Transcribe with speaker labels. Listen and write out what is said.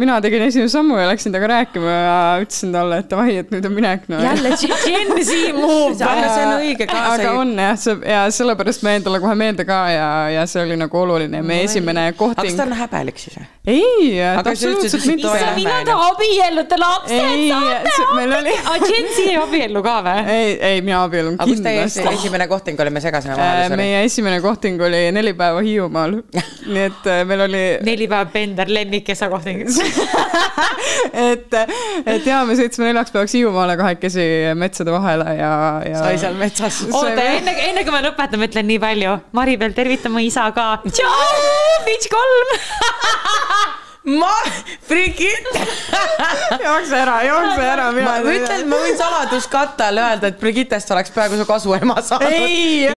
Speaker 1: mina tegin esimese sammu ja läksin temaga rääkima ja ütlesin talle, et davai, et nüüd on minek no.
Speaker 2: jälle Gen Z move .
Speaker 3: aga see on õige
Speaker 1: aga
Speaker 3: kaasa .
Speaker 1: on jah , see ja sellepärast ma jäin talle kohe meelde ka ja , ja see oli nagu oluline , meie esimene
Speaker 3: aga kas
Speaker 1: kohting
Speaker 3: ta . on häbelik siis või ?
Speaker 1: ei ,
Speaker 3: Aga sa ütlesid,
Speaker 1: absoluutselt
Speaker 3: et
Speaker 1: mitte
Speaker 3: tore. .
Speaker 2: ise mina te abiellute lapsed
Speaker 1: Ei,
Speaker 2: saate
Speaker 1: see- , meil oli-
Speaker 2: aga Gen Z ei abiellu ka või ?
Speaker 1: ei , ei mina abiellun
Speaker 3: aga kus teie esi-
Speaker 1: kindlasti .
Speaker 3: esimene kohting oli , me segasime vahele , sorry .
Speaker 1: meie esimene kohting oli neli päeva Hiiumaal , nii et äh, meil oli
Speaker 2: neli päeva pender , lemmik esakohting .
Speaker 1: et , et ja me sõitsime neljaks päevaks Hiiumaale kahekesi metsade vahele ja , ja .
Speaker 3: sai seal metsas .
Speaker 2: oota , enne , enne kui me lõpetame , ütlen nii palju . Mari peal tervita mu isa ka . tšau , Pitch kolm .
Speaker 3: ma , frigid ,
Speaker 1: jookse ära , jookse ära , mina
Speaker 3: ma ütlen , ma võin saladuskatte all öelda , et Brigittest oleks praegu su kasuema saanud .
Speaker 1: ei ,